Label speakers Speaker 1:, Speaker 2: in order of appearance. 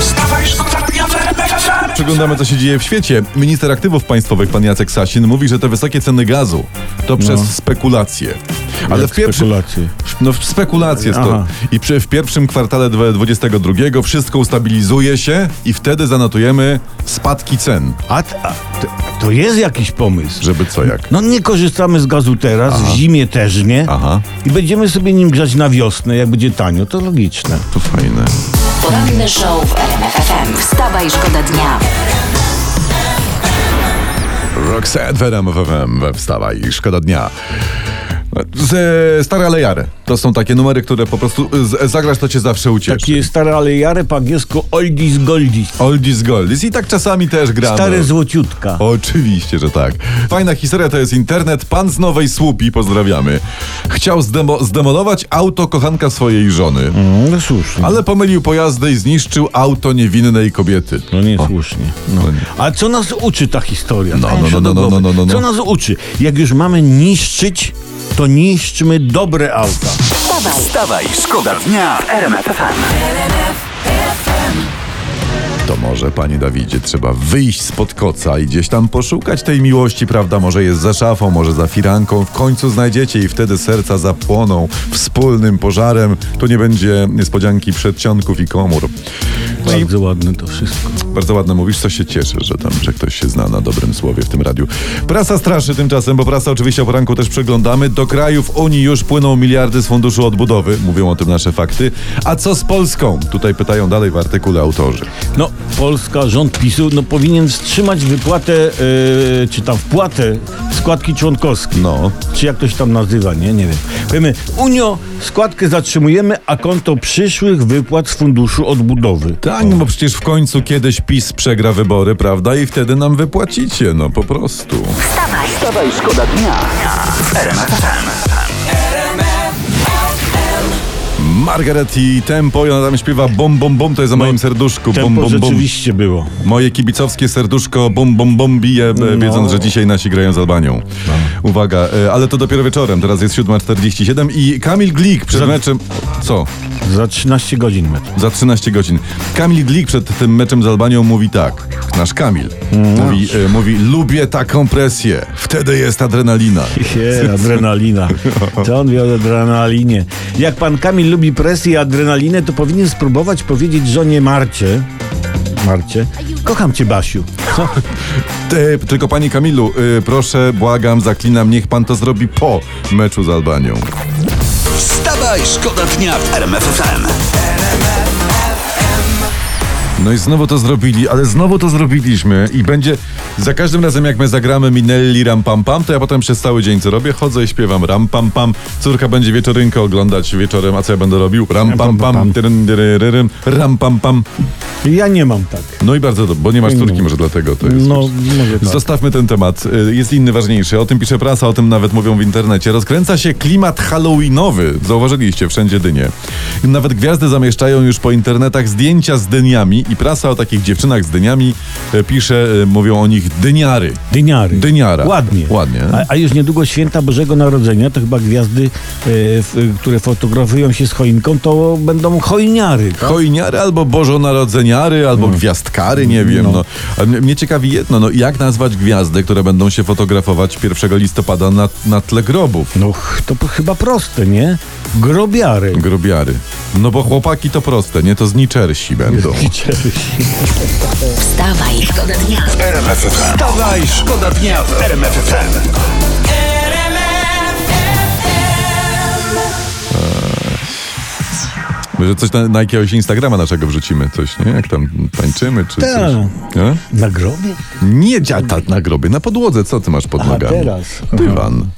Speaker 1: Wstawaj, szkoda dnia w RMFFM.
Speaker 2: Przeglądamy, co się dzieje w świecie. Minister aktywów państwowych, pan Jacek Sasin, mówi, że te wysokie ceny gazu to przez spekulacje. Ale
Speaker 3: No. Jak
Speaker 2: w pierwszym.
Speaker 3: spekulacje?
Speaker 2: No, w spekulacje jest to.
Speaker 3: Aha.
Speaker 2: I przy, w pierwszym kwartale 2022 wszystko ustabilizuje się i wtedy zanotujemy spadki cen.
Speaker 3: A, t- a t- to jest jakiś pomysł.
Speaker 2: Żeby co jak.
Speaker 3: No nie korzystamy z gazu teraz, w zimie też nie.
Speaker 2: Aha.
Speaker 3: I będziemy sobie nim grzać na wiosnę, jak będzie tanio, to logiczne.
Speaker 2: To fajne.
Speaker 4: Poranny show w RMF FM. Wstawaj, szkoda dnia.
Speaker 2: Roxette w RMF FM we Wstawaj, szkoda dnia. Z, stare alejary. To są takie numery, które po prostu z, zagrasz, to cię zawsze ucieszy.
Speaker 3: Takie stare alejary po angielsku oldies goldies.
Speaker 2: Oldies Goldies i tak czasami też gramy.
Speaker 3: Stare złociutka.
Speaker 2: Oczywiście, że tak. Fajna historia to jest internet. Pan z Nowej Słupi, pozdrawiamy. Chciał zdemo- zdemolować auto kochanka swojej żony,
Speaker 3: Mm, No słusznie.
Speaker 2: ale pomylił pojazdy i zniszczył auto niewinnej kobiety.
Speaker 3: No nie słusznie. No.
Speaker 2: No nie.
Speaker 3: A co nas uczy ta historia?
Speaker 2: No,
Speaker 3: Stań
Speaker 2: no,
Speaker 3: się
Speaker 2: no,
Speaker 3: do
Speaker 2: no, no,
Speaker 3: głowy.
Speaker 2: no, no, no.
Speaker 3: Co nas uczy? Jak już mamy niszczyć, to niszczmy dobre auta.
Speaker 4: Wstawaj.
Speaker 1: Wstawaj, szkoda dnia w RMFFM.
Speaker 2: To może, panie Dawidzie, trzeba wyjść spod koca i gdzieś tam poszukać tej miłości, prawda? Może jest za szafą, może za firanką. W końcu znajdziecie i wtedy serca zapłoną wspólnym pożarem. Tu nie będzie niespodzianki przedsionków i komór. No i
Speaker 3: Bardzo ładne to wszystko.
Speaker 2: Bardzo ładne mówisz, co się cieszę, że tam, że ktoś się zna na dobrym słowie w tym radiu. Prasa straszy tymczasem, bo prasa oczywiście o poranku też przeglądamy. Do krajów Unii już płyną miliardy z funduszu odbudowy, mówią o tym nasze fakty. A co z Polską? Tutaj pytają dalej w artykule autorzy.
Speaker 3: No, Polska, rząd PiSu no, powinien wstrzymać wypłatę, e, czy tam wpłatę składki członkowskiej.
Speaker 2: No.
Speaker 3: Czy jak to się tam nazywa, nie? Nie wiem. Powiemy, Unio, składkę zatrzymujemy, a konto przyszłych wypłat z funduszu odbudowy.
Speaker 2: Tak, no bo przecież w końcu kiedyś PiS przegra wybory, prawda? I wtedy nam wypłacicie, no po prostu.
Speaker 1: Wstawaj, szkoda dnia w RMFFM.
Speaker 2: Margaret i Tempo, i ona tam śpiewa bom, bom, bom, to jest za moim serduszku. Bom,
Speaker 3: No, Tempo
Speaker 2: bom, bom.
Speaker 3: rzeczywiście było.
Speaker 2: Moje kibicowskie serduszko bom bom bom bije, b-
Speaker 3: No.
Speaker 2: wiedząc, że dzisiaj nasi grają z Albanią. Uwaga, e, ale to dopiero wieczorem, teraz jest 7.47 i Kamil Glik przed
Speaker 3: Za-
Speaker 2: meczem... Co?
Speaker 3: Za 13 godzin metr.
Speaker 2: Za 13 godzin. Kamil Glik przed tym meczem z Albanią mówi tak, nasz Kamil, mówi, e, mówi lubię taką presję, wtedy jest adrenalina.
Speaker 3: Je, adrenalina.
Speaker 2: No.
Speaker 3: To on wie o adrenalinie. Jak pan Kamil lubi presję i adrenalinę, to powinien spróbować powiedzieć żonie Marcie. Marcie, kocham cię Basiu. Co?
Speaker 2: Ty, tylko pani Kamilu, y, proszę, błagam, zaklinam, niech pan to zrobi po meczu z Albanią.
Speaker 1: Wstawaj, szkoda dnia w RMFFM.
Speaker 2: No i znowu to zrobili, ale znowu to zrobiliśmy i będzie za każdym razem jak my zagramy Minelli Ram Pam Pam, to ja potem przez cały dzień co robię, chodzę i śpiewam Ram Pam Pam. Córka będzie wieczorynkę oglądać wieczorem, a co ja będę robił? Ram Pam Pam, tyryn, dyry, ryrym, Ram Pam Pam.
Speaker 3: Ja nie mam tak.
Speaker 2: No i bardzo dobrze, bo nie masz córki może dlatego to jest.
Speaker 3: Mm. No, może tak.
Speaker 2: Zostawmy ten temat. Y, Jest inny ważniejszy. O tym pisze prasa, o tym nawet mówią w internecie. Rozkręca się klimat halloweenowy. Zauważyliście wszędzie dynie. Nawet gwiazdy zamieszczają już po internetach zdjęcia z dyniami i prasa o takich dziewczynach z dyniami y, pisze, y, mówią o nich dyniary.
Speaker 3: Dyniary.
Speaker 2: Dyniara.
Speaker 3: Ładnie.
Speaker 2: Ładnie.
Speaker 3: A, a już niedługo święta Bożego Narodzenia, to chyba gwiazdy, e, f, które fotografują się z choinką, to będą chojniary. tak? No.
Speaker 2: Chojniary albo bożonarodzeniary, albo gwiazdkary, nie wiem. No. Ale mnie- Mnie ciekawi jedno, no jak nazwać gwiazdy, które będą się fotografować 1 listopada na, na tle grobów?
Speaker 3: No ch- to p- chyba proste, nie? Grobiary.
Speaker 2: Grobiary. No bo chłopaki to proste, nie? To zniczersi będą.
Speaker 4: Wstawaj, szkoda dnia.
Speaker 1: Wstawaj, szkoda dnia w RMFFM.
Speaker 2: Może coś na, na jakiegoś Instagrama naszego wrzucimy, coś, nie? Jak tam tańczymy, czy
Speaker 3: Tak.
Speaker 2: coś. Nie?
Speaker 3: Na grobie?
Speaker 2: nie dziata na grobie, na podłodze. Co ty masz pod
Speaker 3: Aha,
Speaker 2: nogami?
Speaker 3: teraz.
Speaker 2: Dywan.